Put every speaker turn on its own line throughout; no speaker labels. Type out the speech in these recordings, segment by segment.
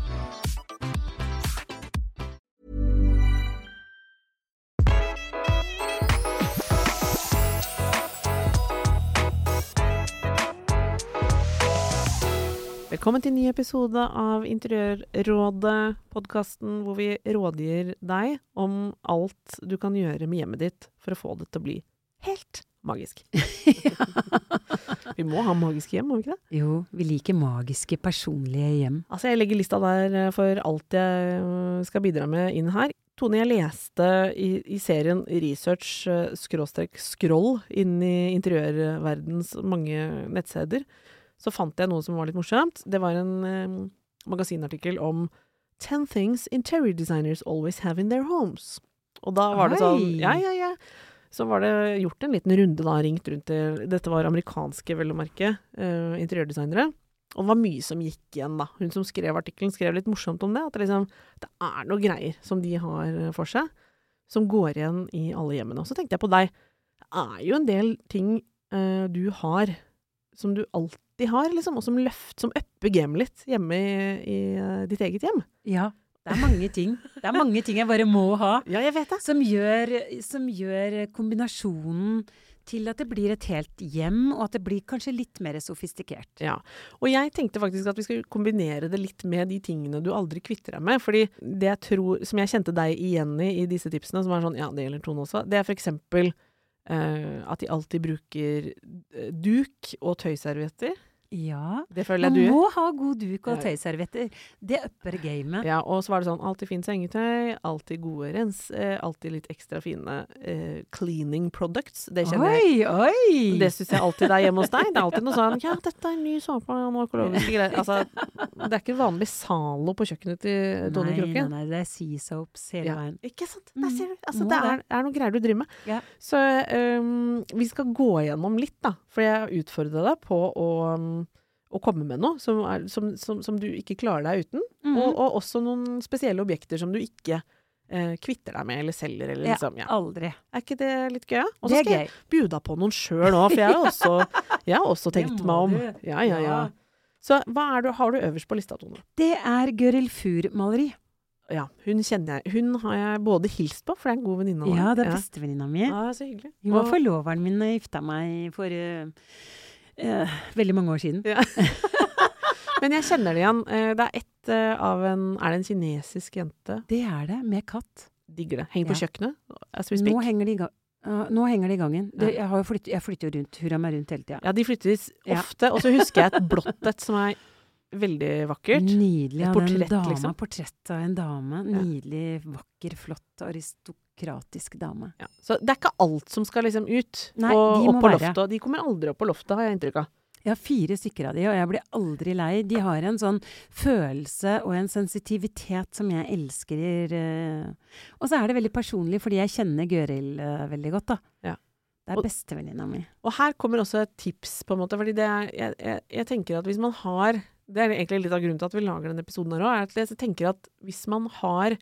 Velkommen til en ny episode av Interiørrådet, podkasten hvor vi rådgir deg om alt du kan gjøre med hjemmet ditt for å få det til å bli helt magisk. vi må ha magiske hjem, må vi ikke det?
Jo, vi liker magiske, personlige hjem.
Altså, jeg legger lista der eh, for alt jeg eh, skal bidra med inn her. Tone, jeg leste i, i serien Research eh, skråstrek scroll inn i interiørverdens mange nettsteder, så fant jeg noe som var litt morsomt. Det var en eh, magasinartikkel om 10 things interior designers always have in their homes. Og da var det sånn
Oi.
Ja, ja, ja. Så var det gjort en liten runde, da, ringt rundt til Dette var amerikanske, vel å merke, eh, interiørdesignere. Og det var mye som gikk igjen, da. Hun som skrev artikkelen, skrev litt morsomt om det. At det, liksom, det er noe greier som de har eh, for seg, som går igjen i alle hjemmene. Og så tenkte jeg på deg. Det er jo en del ting eh, du har som du alltid har, liksom, og som løft, som upper gamet litt hjemme i, i eh, ditt eget hjem.
Ja, det er mange ting. Det er mange ting jeg bare må ha.
Ja, jeg vet det.
Som gjør, som gjør kombinasjonen til at det blir et helt hjem, og at det blir kanskje litt mer sofistikert.
Ja. Og jeg tenkte faktisk at vi skal kombinere det litt med de tingene du aldri kvitter deg med. Fordi det jeg tror, som jeg kjente deg igjen i i disse tipsene, som er sånn, ja, det gjelder Tone også, det er for eksempel eh, at de alltid bruker eh, duk og tøyservietter.
Ja.
Det føler jeg
Man
du gjør.
må ha god duk og
Ja.
tøyservietter. Det upper gamet.
Ja, og så var det sånn alltid fint sengetøy, alltid gode rens, eh, alltid litt ekstra fine eh, cleaning products. Det kjenner jeg.
Oi, oi!
Det syns jeg alltid det er hjemme hos deg. Det er alltid noe sånn Ja, dette er en ny såpe og noe økologiske greier. Altså, det er ikke vanlig Zalo på kjøkkenet til Tony
nei, nei,
Kroken.
nei, det er sea soaps hele
Ja.
veien.
Ikke sant?
Mm,
Der ser du. Altså,
må
det er, er noen greier du driver med.
Ja.
Så øhm, vi skal gå gjennom litt, da. For jeg utfordra deg på å, øhm, å komme med noe som, er, som, som, som du ikke klarer deg uten.
Mhm.
Og, og også noen spesielle objekter som du ikke eh, kvitter deg med eller selger. Eller,
Ja,
liksom, ja.
Aldri.
Er ikke det litt gøy? Ja? Og så
Det er
skal jeg
gøy.
bjuda på noen sjøl òg, for jeg har også, jeg har også
Det
tenkt
må
meg om.
du.
Ja, ja, ja.
Ja.
Så hva er du, har du øverst på lista, Tone?
Det er Gøril Fur-maleri.
Ja, hun kjenner jeg. Hun har jeg både hilst på, for det er en god venninne av meg.
Ja, det er bestevenninna mi.
Ja, så hyggelig.
Hun var
Og-
forloveren min da jeg gifta meg for eh, eh, veldig mange år siden.
Men jeg kjenner det igjen. Eh, Det er ett eh, av en Er det en kinesisk jente?
Det er det, med katt.
Digger det. Henger på
Ja.
kjøkkenet. As we
Nå
speak.
henger de i, ga Ja, nå henger det i gangen.
Ja.
Det, jeg, har jo flytt, jeg flytter jo rundt, hurra meg rundt hele tida.
Ja, de flyttes
Ja.
ofte. Og så husker jeg et blått et som er veldig vakkert.
Nydelig
Et
av
portrett,
en dame.
liksom.
Portrett av en dame. Nydelig, vakker, flott, aristokratisk dame.
Ja. Så det er ikke alt som skal liksom ut
Nei,
og
de
opp
må
på
være.
loftet. og De kommer aldri opp på loftet, har jeg inntrykk av.
Jeg har fire stykker av de, og jeg blir aldri lei. De har en sånn følelse og en sensitivitet som jeg elsker. eh. Og så er det veldig personlig, fordi jeg kjenner Gøril eh, veldig godt, da.
Ja.
Det
Og-
er bestevenninna mi.
Og her kommer også et tips, på en måte. fordi det er, jeg, jeg, jeg tenker at hvis man har Det er egentlig litt av grunnen til at vi lager denne episoden her òg. er at Jeg tenker at hvis man har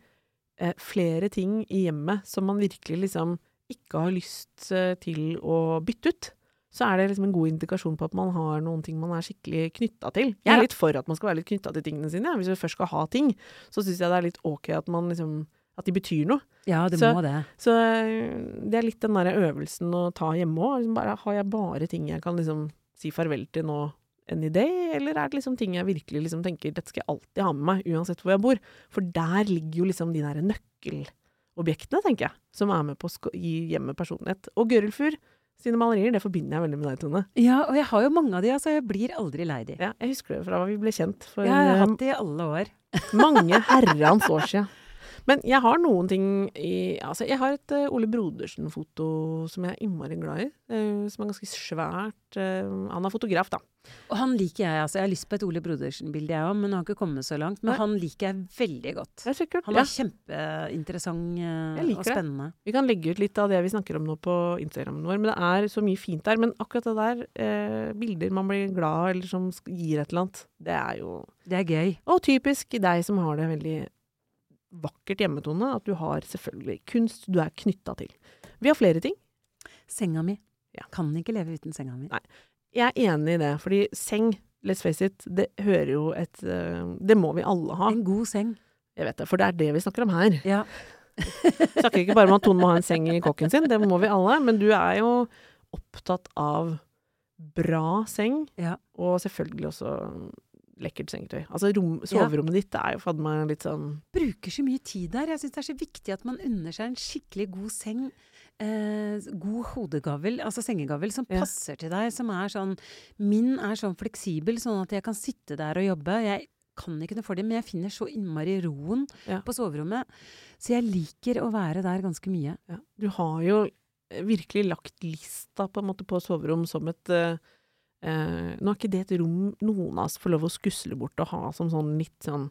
eh, flere ting i hjemmet som man virkelig liksom ikke har lyst eh, til å bytte ut, så er det liksom en god indikasjon på at man har noen ting man er skikkelig knytta til. Jeg
Ja.
er litt for at man skal være litt knytta til tingene sine. Hvis vi først skal ha ting, så syns jeg det er litt ok at man liksom at de betyr noe.
Ja, det
Så-
må det.
Så eh, det er litt den der øvelsen å ta hjemme òg. Liksom bare, har jeg bare ting jeg kan liksom si farvel til nå enn i dag, eller er det liksom ting jeg virkelig liksom tenker dette skal jeg alltid ha med meg, uansett hvor jeg bor? For der ligger jo liksom de der nøkkelobjektene, tenker jeg, som er med på å sko- gi hjemmet personlighet. Og Gøril Fur sine malerier, det forbinder jeg veldig med deg, Tone.
Ja, og jeg har jo mange av de, altså. Jeg blir aldri lei de.
Ja, jeg husker det fra da vi ble kjent for
Jeg har
eh,
hatt de i alle år.
mange herrans år siden. Men jeg har noen ting i altså Jeg har et eh, Ole Brodersen-foto som jeg er innmari glad i. eh, som er ganske svært. eh, han er fotograf, da.
Og han liker jeg, altså. Jeg har lyst på et Ole Brodersen-bilde, jeg òg, men han har ikke kommet så langt. Men
Nei.
han liker jeg veldig godt.
Det er sikkert.
Han
ja.
er kjempeinteressant eh,
Jeg liker
og
det.
spennende.
Vi kan legge ut litt av det vi snakker om nå på Instagramen vår, men det er så mye fint der. Men akkurat det der, eh, bilder man blir glad av, eller som sk- gir et eller annet, det er jo
Det er gøy.
Og typisk deg som har det veldig vakkert hjemmetone, at du har selvfølgelig kunst du er knytta til. Vi har flere ting.
Senga mi.
Ja.
Kan ikke leve uten senga mi.
Nei. Jeg er enig i det, fordi seng, let's face it, det hører jo et eh, Det må vi alle ha.
En god seng.
Jeg vet det, for det er det vi snakker om her.
Ja.
snakker ikke bare om at Tone må ha en seng i kokken sin, det må vi alle. Men du er jo opptatt av bra seng,
Ja.
og selvfølgelig også lekkert sengetøy. Altså rom, soverommet ditt er jo fader meg litt sånn
Bruker så mye tid der. Jeg syns det er så viktig at man unner seg en skikkelig god seng. Eh, god hodegavl, altså sengegavl, som
Ja.
passer til deg. Som er sånn Min er sånn fleksibel, sånn at jeg kan sitte der og jobbe. Jeg kan ikke noe for det, men jeg finner så innmari roen
Ja.
på soverommet. Så jeg liker å være der ganske mye.
ja. Du har jo eh, virkelig lagt lista på en måte på soverom som et eh, eh, Nå er ikke det et rom noen av oss får lov å skusle bort og ha som sånn litt sånn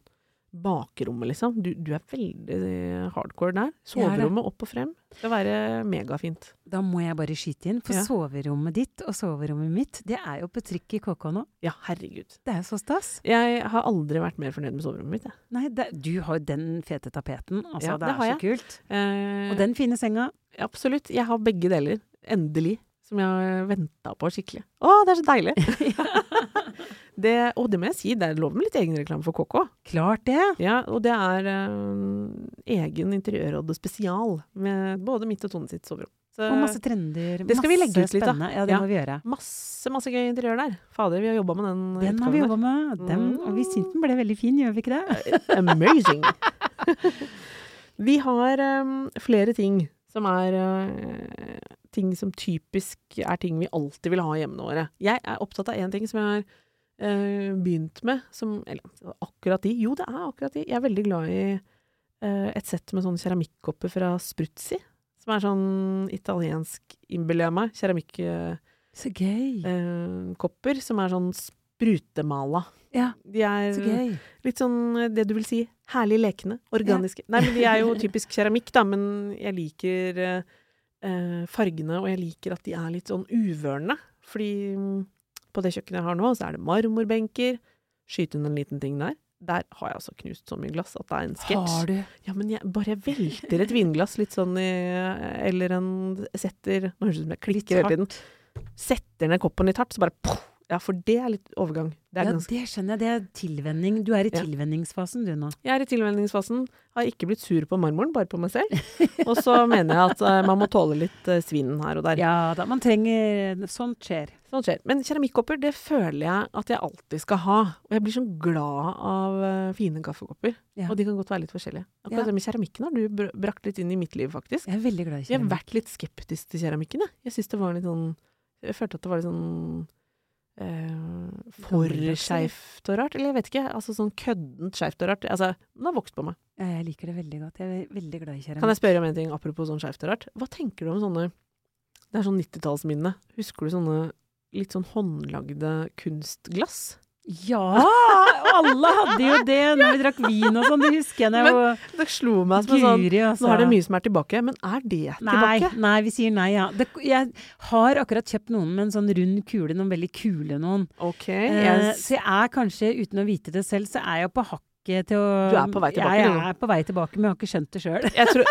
bakrommet, liksom. Du, du er veldig eh, hardcore der.
Jeg er det.
Soverommet opp og frem. Det skal være megafint.
Da må jeg bare skyte inn, for
Ja.
soverommet ditt og soverommet mitt, det er jo på trykk i KK nå.
Ja, herregud.
Det er jo så stas.
Jeg har aldri vært mer fornøyd med soverommet mitt. Jeg.
Nei, det, du har jo den fete tapeten. Altså,
Ja,
det,
det
er
har
så kult.
Eh,
Og den fine senga.
Absolutt. Jeg har begge deler. Endelig. Som jeg har venta på skikkelig. Å, det er så deilig! det, og det må jeg si, det er lov med litt egenreklame for KK.
Klart det!
Ja, og det er eh, egen interiørråd spesial med både mitt og Tone sitt soverom. Så
Og masse trender.
Eh, det skal vi legge ut litt, da.
spennende. Ja, det
Ja.
må vi gjøre.
masse, masse gøy interiør der. Fader, vi Eh, har jobba med den.
Den har vi jobba med. og Den, og vi syns den ble veldig fin, gjør vi ikke det?
Amazing! Vi har em, flere ting som er eh, ting som typisk er ting vi alltid vil ha i hjemmene våre. Jeg er opptatt av én ting som jeg har eh, begynt med, som Eller akkurat de. Jo, det er akkurat de. Jeg er veldig glad i eh, et sett med sånne keramikkopper fra Spruzzi. Som er sånn italiensk, innbiller jeg meg, keramikkopper.
Så gøy.
som er sånn sprutemala.
Ja,
De er
så gøy.
Litt sånn eh, det du vil si herlig lekende, organiske. Nei, men de er jo typisk keramikk, da, men jeg liker eh, eh, fargene, og jeg liker at de er litt sånn uvørende. Fordi mm, på det kjøkkenet jeg har nå, så er det marmorbenker. Skyt inn en liten ting der. Der har jeg altså knust så mye glass at det er en sketsj.
Har du?
Ja, men jeg bare velter et vinglass litt sånn i Eller en setter Nå høres det ut som jeg klikker hele tiden. Setter ned koppen litt hardt, så bare poff! Ja, for det er litt overgang. Det er
Ja,
ganske
det skjønner jeg. Det er tilvenning. Du er i
Ja.
tilvenningsfasen du nå.
Jeg er i tilvenningsfasen, har ikke blitt sur på marmoren, bare på meg selv. Og så mener jeg at eh, man må tåle litt eh, svinn her og der.
Ja da, man trenger Sånt skjer.
Sånt skjer. Men keramikkopper, det føler jeg at jeg alltid skal ha. Og jeg blir så glad av eh, fine kaffekopper.
Ja.
Og de kan godt være litt forskjellige. Akkurat
Ja.
det med keramikken har du br- brakt litt inn i mitt liv, faktisk.
Jeg er veldig glad i
Jeg har
keramikk.
vært litt skeptisk til keramikken, jeg. Jeg syns det var litt sånn Jeg følte at det var litt sånn eh, for
Gammeldags, eller?
skeivt og rart. Eller jeg vet ikke. Altså sånn køddent skeivt og rart. Altså, den har vokst på meg.
Ja, Jeg liker det veldig godt. Jeg er veldig glad i
Kan
keramikk.
jeg spørre om en ting apropos sånn skjevt og rart? Hva tenker du om sånne Det er sånn 90-tallsminne. Husker du sånne litt sånn håndlagde kunstglass?
Ja! Og alle hadde jo det når vi drakk vin og sånn, det husker jeg. når jeg var-
Det slo meg som en sånn
Guri, altså.
Nå er det mye som er tilbake, men er det
Nei,
tilbake?
nei, vi sier nei, ja. Det, jeg har akkurat kjøpt noen med en sånn rund kule, noen veldig kule noen.
Ok,
Eh,
jeg,
så jeg er kanskje, uten å vite det selv, så er jeg på hakket til å
Du er på vei tilbake,
Jeg,
du nå.
er på vei tilbake, men jeg har ikke skjønt det sjøl.
jeg tror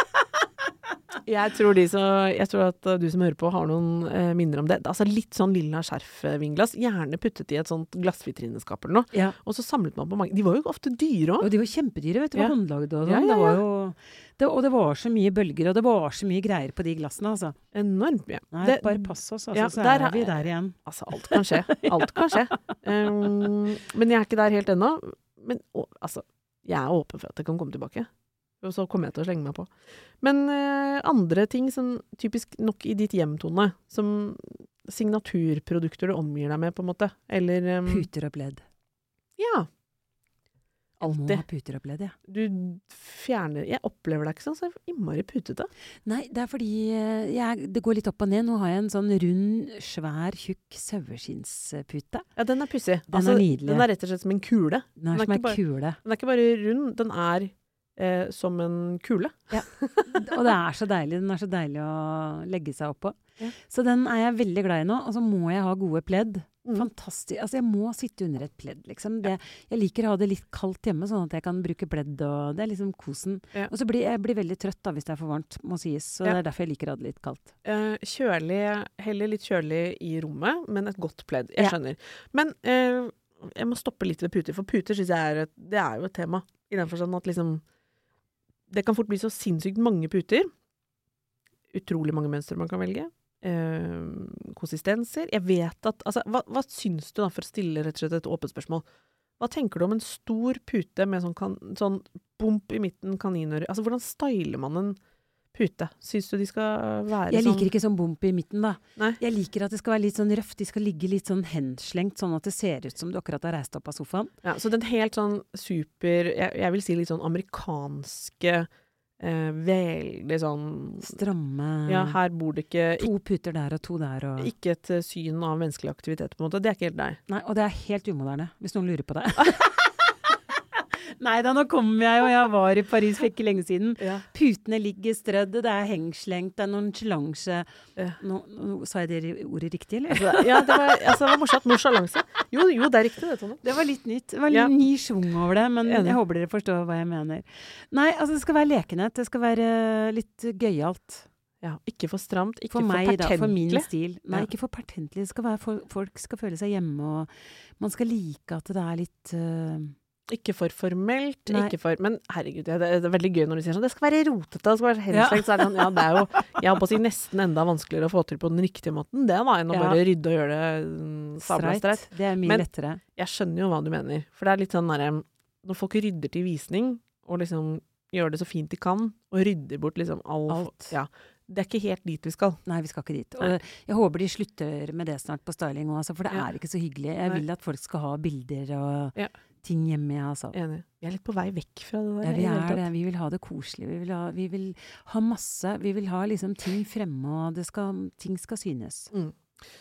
jeg tror, de som, jeg tror at uh, du som hører på har noen eh, minner om det. Altså Litt sånn lilla skjerfvinglass, gjerne puttet i et sånt glassvitrineskap eller noe.
Ja.
Og så samlet man på mange. De var jo ofte dyre òg.
Og de var kjempedyre, vet du.
Ja.
Ja. Håndlagde og sånn.
Ja, ja,
Det var jo det, Og det var så mye bølger, og det var så mye greier på de glassene, altså.
Enormt mye.
Nei,
Det-
bare pass oss, altså,
ja,
så
der
er
har-
vi der igjen.
Altså, alt kan skje. Alt kan skje. Um, men jeg er ikke der helt ennå. Men å, altså, jeg er åpen for at det kan komme tilbake. Og så kommer jeg til å slenge meg på. Men eh, andre ting som typisk nok i ditt hjem, Tone, som Mm. signaturprodukter du omgir deg med, på en måte. Eller um,
Puter og pledd.
Ja.
Må
Alltid.
ha puter opplevd, jeg.
Du fjerner Jeg opplever deg ikke sånn, så jeg er innmari putete.
Nei, det er fordi eh, jeg, det går litt opp og ned. Nå har jeg en sånn rund, svær, tjukk saueskinnspute.
Ja, den er pussig.
Den
Altså,
er nydelig.
den er rett og slett som en kule.
Den er
Den er
som
ikke
ei
bare-
kule.
Den er ikke bare rund, den er eh, som en kule.
Og det er så deilig. Den er så deilig å legge seg oppå.
Ja.
Så den er jeg veldig glad i nå. Og så må jeg ha gode pledd.
Mm.
Fantastisk. Altså, jeg må sitte under et pledd, liksom. Det, jeg liker å ha det litt kaldt hjemme, sånn at jeg kan bruke pledd og Det er liksom kosen.
Ja.
Og så blir jeg blir veldig trøtt da, hvis det er for varmt, må sies. Så
Ja.
det er derfor jeg liker å ha det litt kaldt.
Eh, kjølig, heller litt kjølig i rommet, men et godt pledd.
Ja.
Jeg skjønner. Men eh, jeg må stoppe litt ved puter, for puter syns jeg er et, det er jo et tema. I den forstand at liksom Det kan fort bli så sinnssykt mange puter. Utrolig mange mønstre man kan velge. Eh, konsistenser. Jeg vet at Altså, hva, hva syns du, da, for å stille rett og slett et åpent spørsmål? Hva tenker du om en stor pute med sånn, kan, sånn bump i midten, kaninøre Altså, hvordan styler man en pute? Syns du de skal være
Jeg
sånn
liker ikke sånn bump i midten, da.
Nei.
Jeg liker at det skal være litt sånn røft. De skal ligge litt sånn henslengt, sånn at det ser ut som du akkurat har reist opp av sofaen.
Ja, så den helt sånn super Jeg, jeg vil si litt sånn amerikanske eh, Veldig sånn
Stramme
Ja, her bor det ikke ik-
Mm. To puter der og to der og
Ikke et eh, syn av menneskelig aktivitet, på en måte. Det er ikke helt deg.
Nei, og det er helt umoderne, hvis noen lurer på det. Nei da, nå kommer jeg jo. Jeg var i Paris for ikke lenge siden. Putene ligger strødd, og det er hengslengt, det er nonsjalanse
Ja.
nå, nå, Sa jeg det ordet riktig, eller?
Så, ja, det var, altså, det var morsomt. Nonsjalanse. Jo, jo, det er riktig det, Tonje.
Det var litt nytt. Det var
Ja.
litt ny sjung over det, men
Enig.
jeg håper dere forstår hva jeg mener. Nei, altså det skal være lekenhet. Det skal være eh, litt gøyalt.
Ja, ikke for stramt, ikke
For meg, da. For min
pertentlig.
stil. Nei,
Ja.
ikke for pertentlig. Det skal være for, folk skal føle seg hjemme, og man skal like at det er litt øh,
Ikke for formelt.
Nei.
Ikke for, men herregud, ja, det er, det er veldig gøy når du sier sånn Det skal være rotete, det skal være henslengt. Så er det sånn, ja, det er jo jeg holdt på å si, nesten enda vanskeligere å få til på den riktige måten, det da, enn å
Ja.
bare rydde og gjøre det mm, sabla
streit.
streit.
Det er mye
Men-
lettere.
jeg skjønner jo hva du mener. For det er litt sånn derre Når folk rydder til visning, og liksom gjør det så fint de kan, og rydder bort liksom all,
Alt.
Ja. Det er ikke helt dit vi skal.
Nei, vi skal ikke dit.
Nei.
Og jeg håper de slutter med det snart på styling òg, altså, for det
Ja.
er ikke så hyggelig. Jeg
Nei.
vil at folk skal ha bilder og
Ja.
ting hjemme, jeg, altså.
Enig. Vi er litt på vei vekk fra det der.
Ja,
i
vi
hele
er
tatt.
det. Vi vil ha det koselig. Vi vil ha, vi vil ha masse. Vi vil ha liksom ting fremme, og det skal, ting skal synes.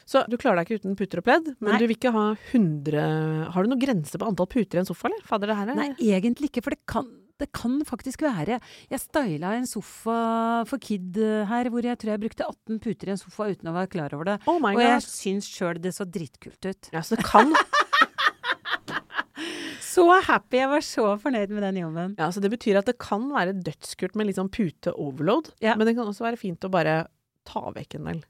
Så du klarer deg ikke uten puter og pledd, men
Nei.
du vil ikke ha 100 Har du noen grense på antall puter i en sofa, eller? Fader, det her er
Nei, egentlig ikke, for det kan, det kan faktisk være. Jeg styla en sofa for kid eh, her, hvor jeg tror jeg brukte 18 puter i en sofa uten å være klar over det.
Oh my
Og jeg
god.
syns sjøl det så drittkult ut.
Ja, så det kan
Så happy! Jeg var så fornøyd med den jobben.
Ja, så Det betyr at det kan være dødskult med litt sånn pute-overload,
Ja.
men det kan også være fint å bare ta vekk en del.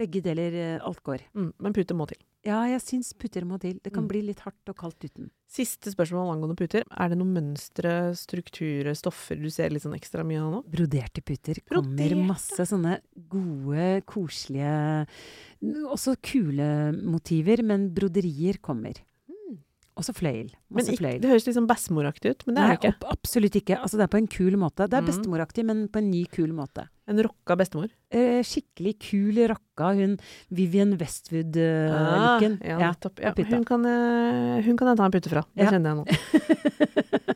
Begge deler, eh, alt går.
Mm, men pute må til.
Ja, jeg syns putter må til. Det kan
Mm.
bli litt hardt og kaldt uten.
Siste spørsmål angående puter. Er det noen mønstre, strukturer, stoffer du ser litt sånn ekstra mye av nå?
Broderte puter kommer
Broderte.
masse sånne gode, koselige n- Også kule motiver, men broderier kommer. Også fløyel.
Mm. Men
Masse
ikk-
fløyel.
det høres litt sånn bæssemoraktig ut, men det er det ikke.
opp, absolutt ikke. Altså, det er på en kul måte. Det er
Mm.
bestemoraktig, men på en ny, kul måte.
En rocka bestemor.
Eh, skikkelig kul rocka, hun Vivian Westwood-looken.
Ah, ja,
Eh, ja.
nettopp. Ja,
og putta.
hun, kan, eh, hun kan jeg ta en pute fra. Det
Ja.
kjenner jeg nå.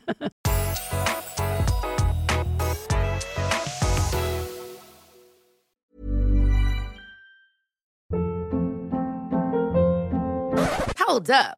Hold up.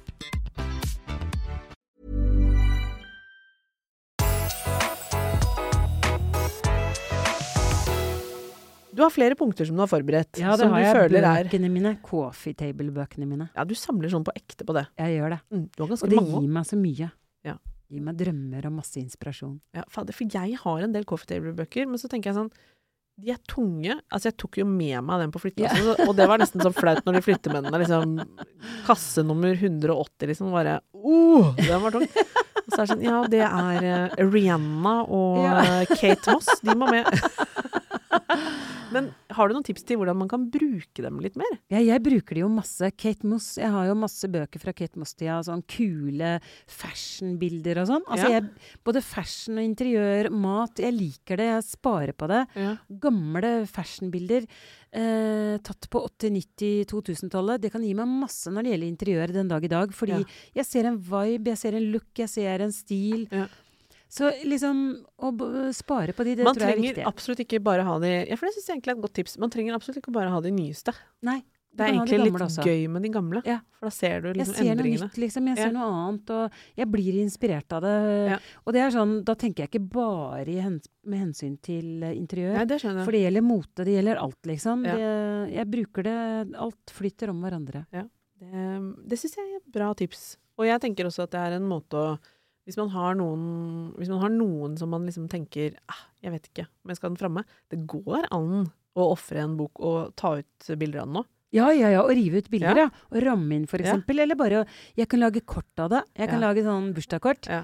Du har flere punkter som du har forberedt,
ja, det
som
har
du
jeg.
føler er
Bøkene mine. Coffee table-bøkene mine.
Ja, du samler sånn på ekte på det.
Jeg gjør det.
Mm, du har ganske
Og det
mange.
gir meg så mye.
Ja.
Gir meg drømmer og masse inspirasjon.
Ja, fader, for jeg har en del coffee table-bøker, men så tenker jeg sånn De er tunge. Altså, jeg tok jo med meg den på flytteplassen, så- og det var nesten sånn flaut når de flyttemennene liksom Kasse nummer 180, liksom, bare oh, Den var tung. Og så er det sånn Ja, det er eh, Rihanna og
Ja.
eh, Kate Moss. De må med. Men har du noen tips til hvordan man kan bruke dem litt mer?
Ja, jeg bruker det jo masse. Kate Moss, Jeg har jo masse bøker fra Kate Moss-tida. Sånn kule fashionbilder og sånn. Altså,
Ja.
jeg, både fashion og interiør, mat. Jeg liker det. Jeg sparer på det.
Ja.
Gamle fashionbilder eh, tatt på 80-, 90-, 2000-tallet. Det kan gi meg masse når det gjelder interiør den dag i dag. Fordi
Ja.
jeg ser en vibe, jeg ser en look, jeg ser en stil.
Ja.
Så liksom å b- spare på de, det
Man
tror jeg er
trenger
viktig.
absolutt ikke bare ha de Ja, for det syns jeg egentlig er et godt tips. Man trenger absolutt ikke bare ha de nyeste.
Nei,
Det er
kan ha de
egentlig litt
gamle også.
gøy med de gamle,
Ja.
for da ser du
jeg
liksom
ser noe
endringene.
nytt, liksom. Jeg ser
Ja.
noe annet, og jeg blir inspirert av det.
Ja.
Og det er sånn, da tenker jeg ikke bare i hens med hensyn til eh, interiør.
Nei, det skjønner jeg.
For det gjelder mote, det gjelder alt, liksom.
Ja.
Det, jeg bruker det Alt flyter om hverandre.
Det, eh, det syns jeg er et bra tips. Og jeg tenker også at det er en måte å Hvis man har noen, hvis man har noen som man liksom tenker ah, 'Jeg vet ikke om jeg skal ha den framme', det går an å ofre en bok og ta ut bilder av den nå.
Ja, ja, ja. Og rive ut bilder,
Ja.
ja. Og ramme inn, for
Ja.
eksempel. Eller bare å- Jeg kan lage kort av det. Jeg kan
Ja.
lage sånn bursdagskort.
Ja.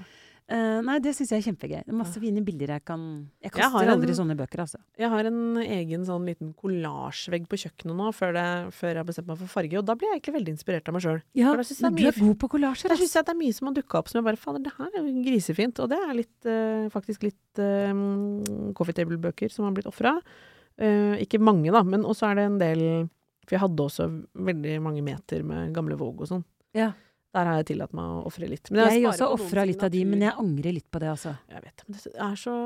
Eh, nei, det syns jeg er kjempegøy. Det er masse fine bilder jeg kan Jeg
Jeg har
kaster aldri
en-
sånne bøker, altså.
Jeg har en egen sånn liten kollasjvegg på kjøkkenet nå før, det, før jeg har bestemt meg for farge, og da blir jeg egentlig veldig inspirert av meg sjøl.
Ja,
For da synes jeg
men
det
du
er
er god på kollasjer. altså.
Der
ass.
syns jeg at det er mye som har dukka opp som jeg bare Fader, det her er jo grisefint. Og det er litt, eh, faktisk litt eh, coffee table-bøker som har blitt ofra. Eh, ikke mange, da, men også er det en del For jeg hadde også veldig mange meter med gamle Våg og sånn.
Ja.
Der har jeg tillatt meg å ofre litt. Men
Jeg
sparer på
også
noen
ofra litt av de,
signatur.
men jeg angrer litt på det, altså.
Jeg vet men det er så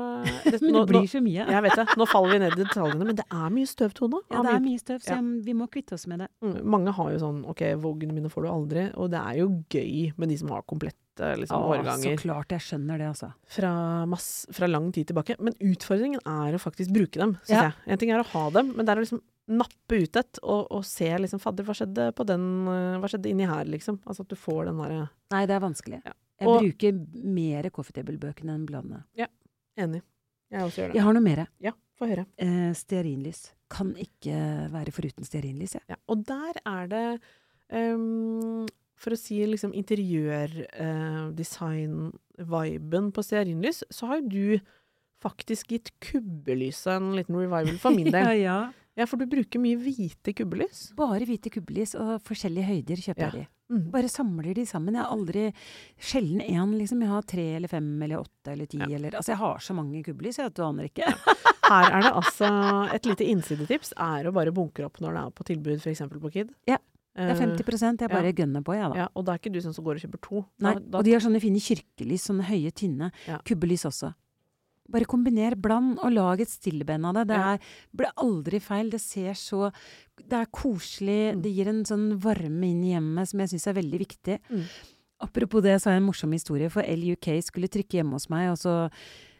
det,
Men
nå,
det
nå,
blir så mye.
Jeg vet det. Nå faller vi ned i detaljene, men det er mye støv, Tone.
Ja,
av
det
mye-
er mye støv, så
Ja.
jeg- vi må kvitte oss med det.
Mm, mange har jo sånn OK, Vågene mine får du aldri. Og det er jo gøy med de som har komplette liksom,
Å,
årganger.
Så klart jeg skjønner det, altså.
fra, mass, fra lang tid tilbake. Men utfordringen er å faktisk bruke dem, syns
Ja.
jeg. En ting er å ha dem, men det er å liksom nappe ut et og, og se liksom Fadder, hva skjedde på den eh, Hva skjedde inni her, liksom? Altså at du får den derre
Nei, det er vanskelig.
Ja.
Jeg
Og-
bruker mer coffee table-bøkene enn bladene.
Enig. Jeg også gjør det.
Jeg har noe mer.
Ja, få høre.
Eh, stearinlys. Kan ikke være foruten stearinlys, jeg.
Ja. Og der er det ehm, For å si liksom interiørdesign-viben på stearinlys, så har jo du faktisk gitt kubbelyset en liten revival for min del.
ja.
Ja, for du bruker mye hvite kubbelys.
Bare hvite kubbelys og forskjellige høyder kjøper
Ja.
jeg de.
Mm.
Bare samler de sammen. Jeg har aldri Sjelden én, liksom. Jeg har tre eller fem eller åtte eller ti
Ja.
eller Altså, jeg har så mange kubbelys, jeg vet du aner ikke.
Her er det altså Et lite innsidetips er å bare bunkre opp når det er på tilbud, f.eks. på Kid.
Ja, Det er
Eh,
50 jeg bare gønner på, jeg, da.
ja, og da er ikke du sånn som går og kjøper to.
Nei,
da, da,
og de har sånne fine kirkelys, sånne høye, tynne.
Ja.
Kubbelys også. Bare kombiner, bland, og lag et stilleben av det. Det
Ja.
er, blir aldri feil. Det ser så Det er koselig.
Mm.
Det gir en sånn varme inn i hjemmet som jeg syns er veldig viktig.
Mm.
Apropos det, så har jeg en morsom historie. For LUK skulle trykke hjemme hos meg, og så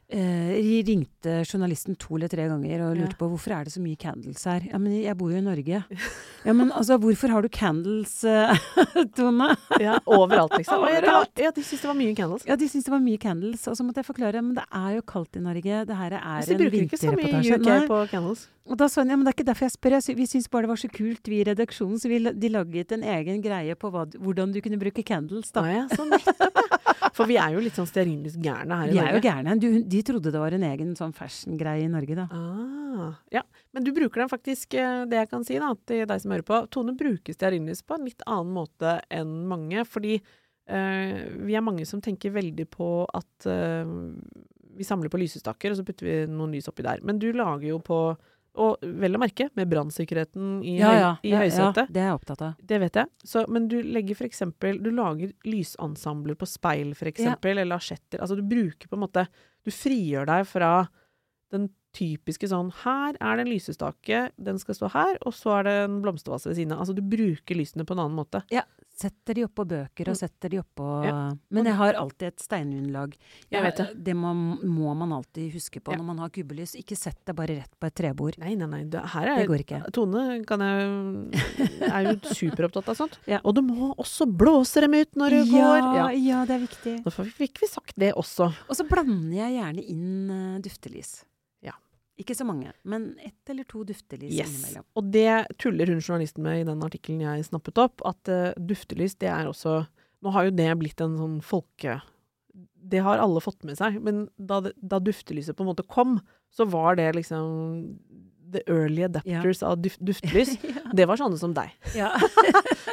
eh, ringte journalisten to eller tre ganger og lurte
Ja.
på hvorfor er det så mye candles her. Ja, men jeg bor jo i Norge. Ja, men altså, hvorfor har du candles, eh, Tone?
ja, overalt, liksom. Og jeg,
Overalt.
ja, de syns det var mye candles.
Ja, de syntes det var mye candles. Og så måtte jeg forklare men det er jo kaldt i Norge. Det her
Hvis
er
Altså, de
en
bruker ikke så mye
vinterreportasje.
UK
Nei.
på candles.
Og da sa hun ja, men det er ikke derfor jeg spør. Jeg sy vi syntes bare det var så kult, vi i redaksjonen, så vi, la- de laget en egen greie på hva, du- hvordan du kunne bruke candles, da.
Nei, ja, så nettopp, ja. For vi er jo litt sånn stearinlysgærne her i
De er jo
Norge.
gærne. Du, de trodde det var en egen sånn fashion-greie i Norge, da.
Ah, ja. Men du bruker dem faktisk, eh, det jeg kan si da, til deg som hører på. Tone bruker stearinlys på en litt annen måte enn mange, fordi eh, vi er mange som tenker veldig på at eh, vi samler på lysestaker, og så putter vi noen lys oppi der. Men du lager jo på, og vel å merke, med brannsikkerheten i, høy- i høysetet.
det er jeg opptatt av.
Det vet jeg. Så, men du legger for eksempel, du lager lysensembler på speil for eksempel, eller asjetter. Altså du bruker på en måte, du frigjør deg fra den typiske sånn, her er det en lysestake, den skal stå her, og så er det en blomstervase ved siden av. Altså du bruker lysene på en annen måte.
Setter de oppå bøker, og setter de oppå
Mm. Ja.
Men jeg har alltid et steinunderlag.
Jeg vet det.
Det må, må man alltid huske på
Ja.
når man har kubbelys. Ikke sett det bare rett på et trebord.
Nei, nei, nei, det, her er,
Det går ikke.
Tone kan jeg, er jo superopptatt av sånt.
Ja.
Og du må også blåse dem ut når du går.
Ja, ja, det er viktig.
Nå fikk vi sagt det også.
Og så blander jeg gjerne inn eh, duftelys.
Ja.
Ikke så mange, men ett eller to duftelys
Yes.
innimellom.
Og det tuller hun journalisten med i den artikkelen jeg snappet opp, at eh, duftelys, det er også Nå har jo det blitt en sånn folke... Det har alle fått med seg, men da, det- da duftelyset på en måte kom, så var det liksom the early adapters av duft, duftlys, det var sånne som deg.
Ja.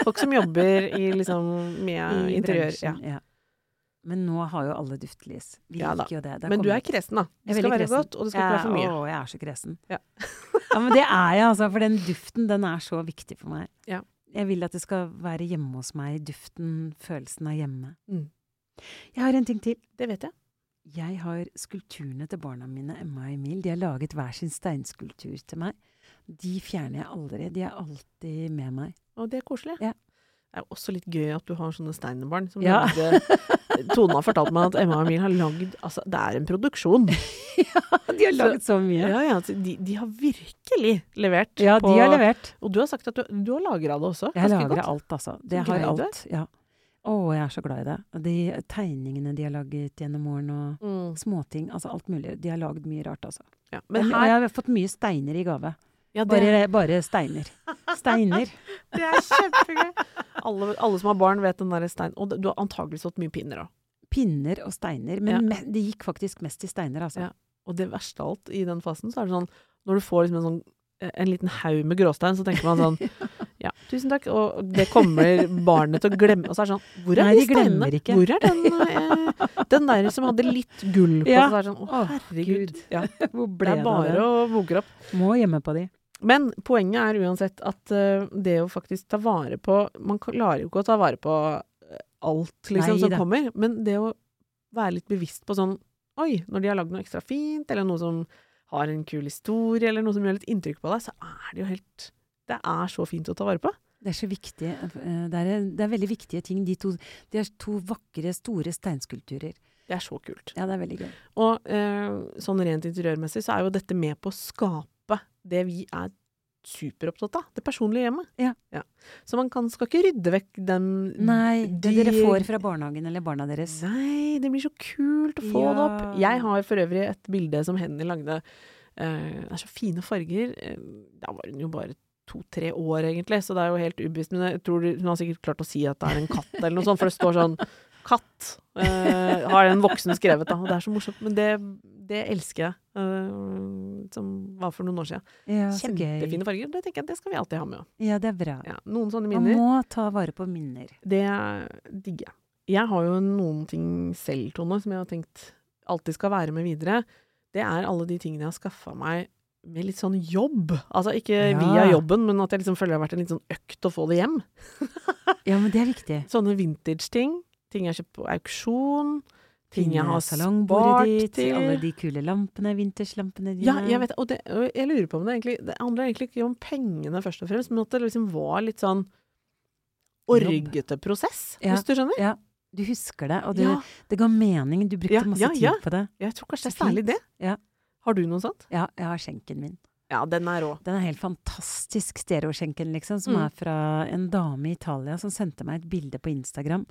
Folk som jobber i, liksom, med
I
interiør. Ja.
bransjen, ja. Men nå har jo alle duftlys. Vi
Ja da.
liker jo det. det har
Men du
kommet-
er kresen, da. Det
Jeg
skal
er veldig
være
kresen.
godt, og det skal ikke være for mye.
Ja, Å, jeg er så kresen.
Ja.
Ja. men det er jeg, altså. For den duften, den er så viktig for meg.
Ja.
Jeg vil at det skal være hjemme hos meg, duften, følelsen av hjemme.
Mm.
Jeg har en ting til.
Det vet jeg.
Jeg har skulpturene til barna mine, Emma og Emil. De har laget hver sin steinskulptur til meg. De fjerner jeg aldri. De er alltid med meg.
Og det er koselig.
Ja.
Det er jo også litt gøy at du har sånne steinerbarn som
Ja.
lagde Tone har fortalt meg at Emma og Emil har lagd Altså, det er en produksjon. Ah,
De har laget så, mye.
Ja, ja, altså, de, de har virkelig levert.
Ja, de
på-
har levert.
Og du har sagt at du, du har lagra det også.
Jeg
Ganske
lagrer
godt.
alt, altså. Det
glad
har
du er.
alt. Ja. Å, jeg er så glad i det. Og De tegningene de har laget gjennom årene, og
Mm.
Småting, altså alt mulig. De har lagd mye rart, altså.
Ja,
Men
men
og
her
jeg har fått mye steiner i gave.
ja, det,
Bare, bare steiner. Steiner.
det er kjempegøy. Alle, alle som har barn, vet den derre stein... Og du har antakeligvis fått mye pinner òg.
Pinner og steiner. Men me det gikk faktisk mest i steiner, altså.
Ja. Og det verste av alt i den fasen, så er det sånn Når du får liksom en sånn en liten haug med gråstein, så tenker man sånn Ja, tusen takk. Og det kommer barnet til å glemme. Og så er det sånn Hvor er
Nei,
de
de glemmer
steinene?
ikke.
Hvor er den, eh, den der som hadde litt gull på?
Ja.
Så er det sånn Å,
Å,
herregud. Ja,
Hvor
det
ble
er
det av
bare
det?
å våge opp.
Må hjemme på de.
Men poenget er uansett at eh, det å faktisk ta vare på Man klarer jo ikke å ta vare på eh, alt liksom, som
Neida.
kommer, men det å være litt bevisst på sånn Oi, når de har lagd noe ekstra fint, eller noe som har en kul historie, eller noe som gjør litt inntrykk på deg, så er det jo helt Det er så fint å ta vare på.
Det er så viktig. eh, Det er, det er veldig viktige ting. De to, de er to vakre, store steinskulpturer.
Det er så kult.
Ja, det er veldig gøy.
Og eh, sånn rent interiørmessig så er jo dette med på å skape det vi er superopptatt av. Det personlige hjemmet.
Ja.
Så man kan, skal ikke rydde vekk den
Nei, Mm. det
de-
dere får fra barnehagen eller barna deres.
Nei, det blir så kult å få det opp.
Ja.
Jeg har for øvrig et bilde som Henny lagde. Eh, det er så fine farger. Eh, Da var hun jo bare to-tre år, egentlig, så det er jo helt ubevisst. Men jeg tror hun har sikkert klart å si at det er en katt eller noe sånt, for det står sånn Katt eh, har en voksen skrevet, da. Og det er så morsomt. Men det, det elsker jeg. eh, som var for noen år siden.
Ja, så gøy.
Kjempefine farger. Det tenker jeg, det skal vi alltid ha med.
Ja, det er bra.
Ja, noen sånne
Man
minner.
må ta vare på minner.
Det digger jeg. Jeg har jo noen ting selv, Tone, som jeg har tenkt alltid skal være med videre. Det er alle de tingene jeg har skaffa meg med litt sånn jobb. Altså ikke
Ja.
via jobben, men at jeg liksom føler det har vært en litt sånn økt å få det hjem.
Ja, men det er viktig.
Sånne vintage-ting. Ting jeg har kjøpt på auksjon. Ting jeg har
salongbordet
spart
ditt,
til.
alle de kule lampene, vinterslampene dine.
Ja, jeg vet og det. Og jeg lurer på om det egentlig Det handler egentlig ikke om pengene først og fremst, men at det liksom var litt sånn
Jobb.
orgete prosess,
Ja.
hvis du skjønner?
Du husker det, og du, det ga mening. Du brukte
Ja,
masse
ja, ja.
tid på det.
Jeg tror kanskje det
Så
er særlig
fint.
det.
Ja.
Har du noe sånt?
Ja, jeg har skjenken min.
Ja, den er rå.
Den er helt fantastisk, stereoskjenken, liksom, som
Mm.
er fra en dame i Italia som sendte meg et bilde på Instagram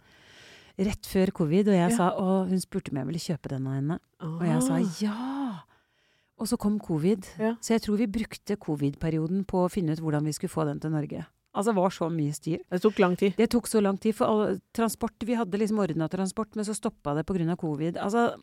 rett før covid, og jeg
Ja. Ah.
sa Og hun spurte om jeg ville kjøpe den av henne, og jeg sa ja. Og så kom covid,
Ja.
så jeg tror vi brukte covid-perioden på å finne ut hvordan vi skulle få den til Norge. Altså, det var så mye styr.
Det tok lang tid.
Det tok så lang tid, for all, transport, vi hadde liksom ordna transport, men så stoppa det pga. covid. Altså,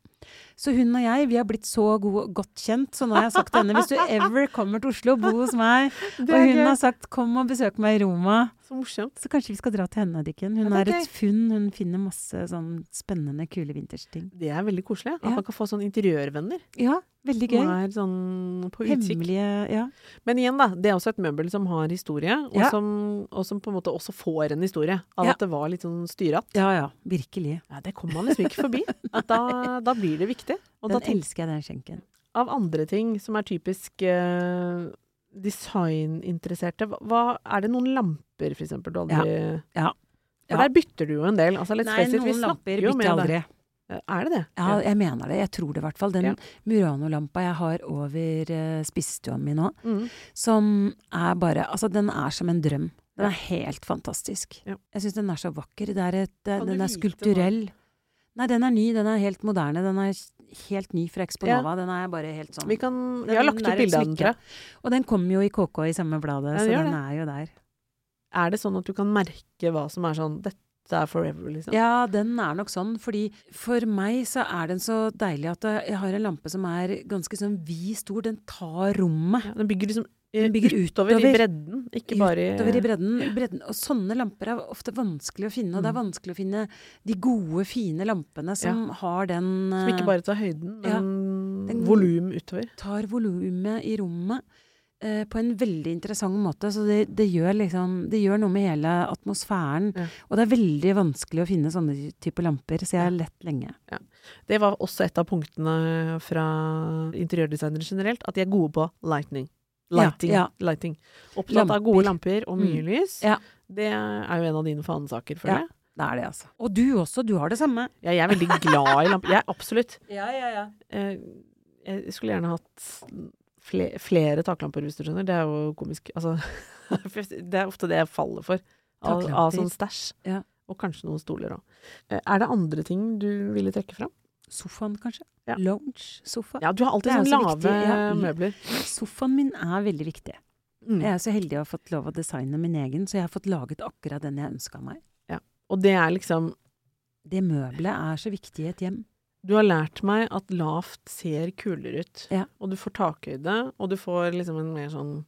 så hun og jeg, vi har blitt så gode, godt kjent, så nå har jeg sagt til henne hvis du ever kommer til Oslo, bo hos meg. Og
er
hun
gøy.
har sagt kom og besøk meg i Roma.
Så morsomt.
Så kanskje vi skal dra til henne, Dikken. Hun
Ja, det
er
er
et funn, hun finner masse sånn spennende, kule vintersting.
Det er veldig koselig. At
Ja.
man kan få sånne interiørvenner.
Ja, veldig
Som
gøy.
er sånn på utkikk.
Hemmelige Ja.
Men igjen, da. Det er også et møbel som har historie, og,
Ja.
som, og som på en måte også får en historie. Av
Ja.
at det var litt sånn styratt.
ja, ja. Virkelig.
Ja, det kommer man liksom ikke forbi. At da, da blir det viktig. Og da
Den
tenker
elsker jeg, den skjenken.
av andre ting som er typisk eh, designinteresserte, hva, hva Er det noen lamper, for eksempel, du aldri
Ja.
For der
Ja.
bytter du jo en del. Altså, let's
Nei,
face it, vi
noen lamper
snakker jo
bytter
med
jeg
deg.
aldri.
Er det det?
Ja, jeg mener det. Jeg tror det i hvert fall. Den
Ja.
Murano-lampa jeg har over uh, spisestua mi nå,
Mm.
som er bare Altså, den er som en drøm. Den
Ja.
er helt fantastisk.
Ja.
Jeg syns den er så vakker. Det er et, det,
Kan du
den er
vite
skulpturell. Nei, den er ny. Den er helt moderne. Den er helt ny fra Exponova. Den er bare helt sånn.
Vi, kan,
Den-
vi har lagt
den er
ut
et
bilde av den, tror
smykke.
jeg.
Og den kom jo i KK i samme bladet,
Ja,
så
den gjør
den
det.
er jo der.
Er det sånn at du kan merke hva som er sånn Dette er forever, liksom?
Ja, den er nok sånn, fordi for meg så er den så deilig at jeg har en lampe som er ganske sånn vid stor. Den tar rommet.
Ja, Den bygger liksom I-
Den bygger
utover i
utover.
bredden, ikke bare
utover i bredden, bredden. Og sånne lamper er ofte vanskelig å finne. Og det er vanskelig å finne de gode, fine lampene som har den
Som ikke
eh,
bare tar høyden,
Ja.
men
Den-
volum utover.
tar volumet i rommet eh, på en veldig interessant måte. Så det, det, gjør liksom, det gjør noe med hele atmosfæren.
Ja.
Og det er veldig vanskelig å finne sånne typer lamper, så jeg har lett lenge.
Det var også et av punktene fra interiørdesignere generelt, at de er gode på lightning. Lighting.
Ja,
lighting. Opptatt av gode lamper Mm. og mye lys.
Ja.
Det er jo en av dine fanesaker, føler
Ja.
jeg.
Det er det, altså. Og du også, du har det samme.
Ja, jeg er veldig glad i lamper. Jeg, absolutt.
Ja, ja, ja.
Eh, Jeg skulle gjerne hatt flere, flere taklamper, hvis du skjønner. Det er jo komisk. Altså, det er ofte det jeg faller for. Av, av
Taklamper.
sånn stæsj.
Ja.
Og kanskje noen stoler òg. Er det andre ting du ville trekke fram?
Sofaen, kanskje.
Ja.
Lounge, sofa.
Ja, du har alltid
Det er
sånn
så
lave
viktig, ja.
møbler.
Sofaen min er veldig viktig.
Mm.
Jeg er så heldig å ha fått lov å designe min egen, så jeg har fått laget akkurat den jeg ønska meg.
Og det er liksom
Det møbelet er så viktig i et hjem.
Du har lært meg at lavt ser kulere ut.
Ja.
Og du får takhøyde, og du får liksom en mer sånn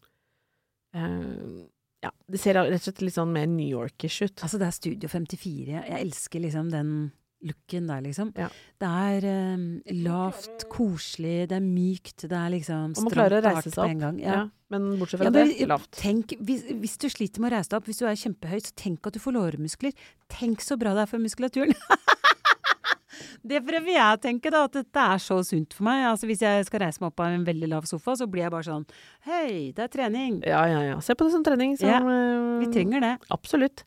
eh, Ja, det ser rett og slett litt sånn mer New Yorkish ut.
Altså, det er Studio 54. Jeg elsker liksom den looken der, liksom.
Ja.
Det er eh, lavt, koselig, det er mykt, det er liksom
Og man
stramt
klarer å
og
reise
hardt
seg
på en gang. Ja.
Ja, men bortsett fra
Ja, men-
det, lavt.
Tenk, hvis, hvis du sliter med å reise deg opp, hvis du er kjempehøy, så tenk at du får lårmuskler. Tenk så bra det er for muskulaturen! det prøver jeg å tenke, da, at dette er så sunt for meg. Altså, hvis jeg skal reise meg opp av en veldig lav sofa, så blir jeg bare sånn Hei, det er trening!
Ja, ja, ja. Se på det som trening. Som,
Ja,
eh,
Vi trenger det.
Absolutt.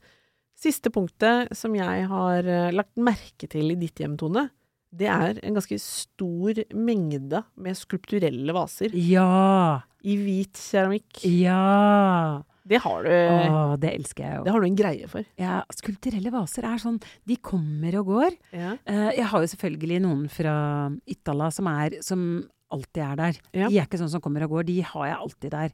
Siste punktet som jeg har eh, lagt merke til i ditt hjem, Tone, det er en ganske stor mengde med skulpturelle vaser
Ja!
i hvit keramikk.
Ja!
Det har du,
Å, det elsker jeg jo.
det har du en greie for.
Ja, skulpturelle vaser er sånn De kommer og går.
Ja.
Eh, jeg har jo selvfølgelig noen fra Itala som, er, som alltid er der.
Ja.
De er ikke sånn som kommer og går, de har jeg alltid der.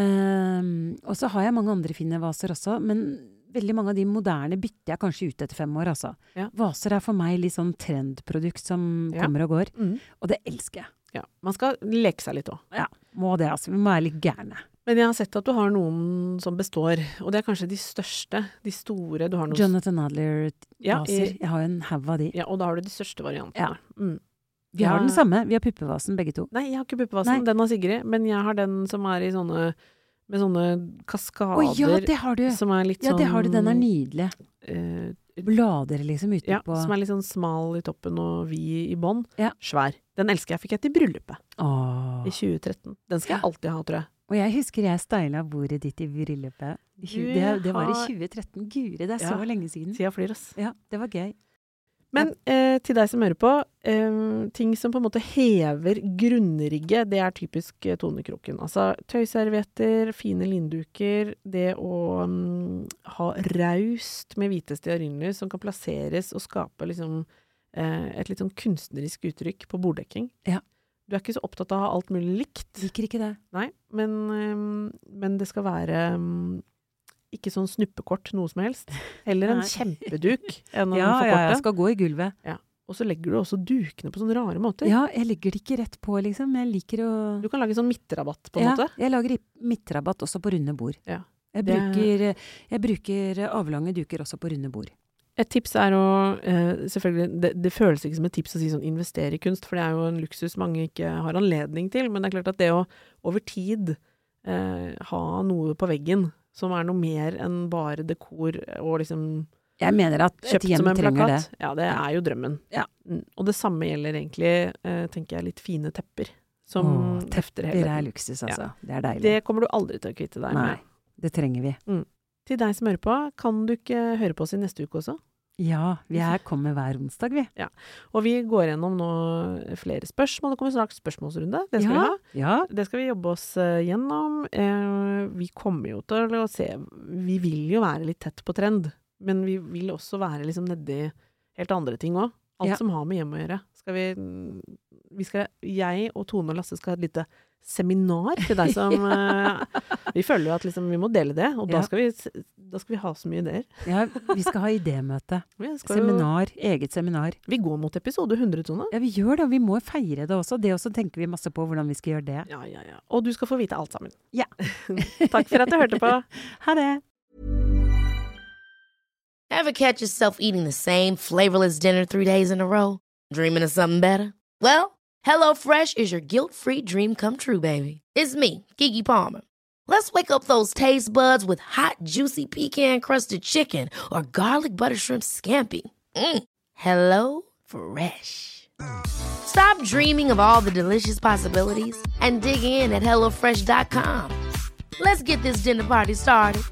Ehm, og så har jeg mange andre fine vaser også, men veldig mange av de moderne bytter jeg kanskje ut etter fem år, altså.
Ja.
Vaser er for meg litt sånn trendprodukt som
Ja.
kommer og går,
Mm.
og det elsker jeg.
ja. Man skal leke seg litt òg.
Ja, må det, altså. Vi må være litt gærne.
Men jeg har sett at du har noen som består, og det er kanskje de største. De store. Du har noen
Jonathan Adler-vaser.
Ja, i-
Jeg har jo en haug av de.
ja, og da har du de største variantene.
Ja.
Mm.
Vi har
Ja.
den samme, vi har puppevasen begge to.
Nei, jeg har ikke puppevasen.
Nei.
Den har Sigrid. Men jeg har den som er i sånne med sånne
Å
kaskader
ja, det har du!
som er litt
Ja,
sånn
det har du. Den er nydelig.
eh,
Blader liksom ute
ja,
på
som er litt sånn smal i toppen og vid i bånn.
Ja.
Svær. Den elsker jeg. Fikk jeg til bryllupet
Åh.
i 2013. Den skal jeg alltid ha, tror jeg.
Og jeg husker jeg styla bordet ditt i bryllupet. I tjue- Det, det var i
har-
2013. Guri, det er
Ja.
så lenge siden.
Tida flyr, ass.
Ja, det var gøy.
Men eh, til deg som hører på, eh, ting som på en måte hever grunnrigget, det er typisk eh, Tonekroken. Altså tøyservietter, fine linduker, det å mm, ha raust med hvite stearinlys som kan plasseres og skape liksom eh, et litt sånn kunstnerisk uttrykk på borddekking.
Ja.
Du er ikke så opptatt av å ha alt mulig likt,
Liker ikke det.
nei, men, eh, men det skal være mm, ikke sånn snuppekort noe som helst. Heller en
Nei.
kjempeduk enn å
Ja,
få
ja,
kortet.
jeg skal gå i gulvet.
Og så legger du også dukene på sånne rare måter.
Ja, jeg legger det ikke rett på, liksom. Jeg liker å
Du kan lage sånn midtrabatt, på en
ja,
måte.
Jeg lager i- midtrabatt også på runde bord.
Ja.
Jeg
Det-
bruker, jeg bruker eh, avlange duker også på runde bord.
Et tips er å eh, Selvfølgelig, det, det føles ikke som et tips å si sånn investere i kunst, for det er jo en luksus mange ikke har anledning til, men det er klart at det å over tid eh, ha noe på veggen som er noe mer enn bare dekor og liksom
Jeg mener at et
kjøpt
hjem
som en
trenger det.
plakat, ja, det er jo drømmen.
Ja.
Mm. Og det samme gjelder egentlig, eh, tenker jeg, litt fine tepper som
Åh,
tefter
Det er
hele
luksus, altså. Det er deilig.
Det kommer du aldri til å kvitte deg med.
Nei, det trenger vi.
Til deg som hører på, kan du ikke høre på oss i neste uke også?
Ja, vi er kommer hver onsdag, vi.
Og vi går gjennom nå flere spørsmål. Det kommer snart spørsmålsrunde. Det skal vi
ja.
ha.
Ja,
Det skal vi jobbe oss eh, gjennom. Eh, vi kommer jo til å se Vi vil jo være litt tett på trend, men vi vil også være liksom nedi helt andre ting òg. Alt
Ja.
som har med hjem å gjøre. Skal vi, vi skal, jeg og Tone og Lasse skal ha et lite seminar til deg som eh, Vi føler jo at liksom, vi må dele det, og
Ja.
da, skal vi, s- da skal vi ha så mye ideer.
Ja, vi skal ha idémøte.
Vi, skal jo,
Seminar. Eget seminar.
vi går mot episode 100, Tone.
Ja, vi gjør det, og vi må feire det også. Det også tenker vi masse på hvordan vi skal gjøre det.
Ja, ja, ja. Og du skal få vite alt sammen.
Ja.
Takk for at du hørte på.
Ha det!
Ever catch yourself eating the same flavorless dinner three days in a row? Dreaming of something better? Well, HelloFresh is your guilt free dream come true, baby. It's me, Kiki Palmer. Let's wake up those taste buds with hot, juicy pecan crusted chicken or garlic butter shrimp scampi. Mm. Hello Fresh. Stop dreaming of all the delicious possibilities and dig in at HelloFresh.com. Let's get this dinner party started.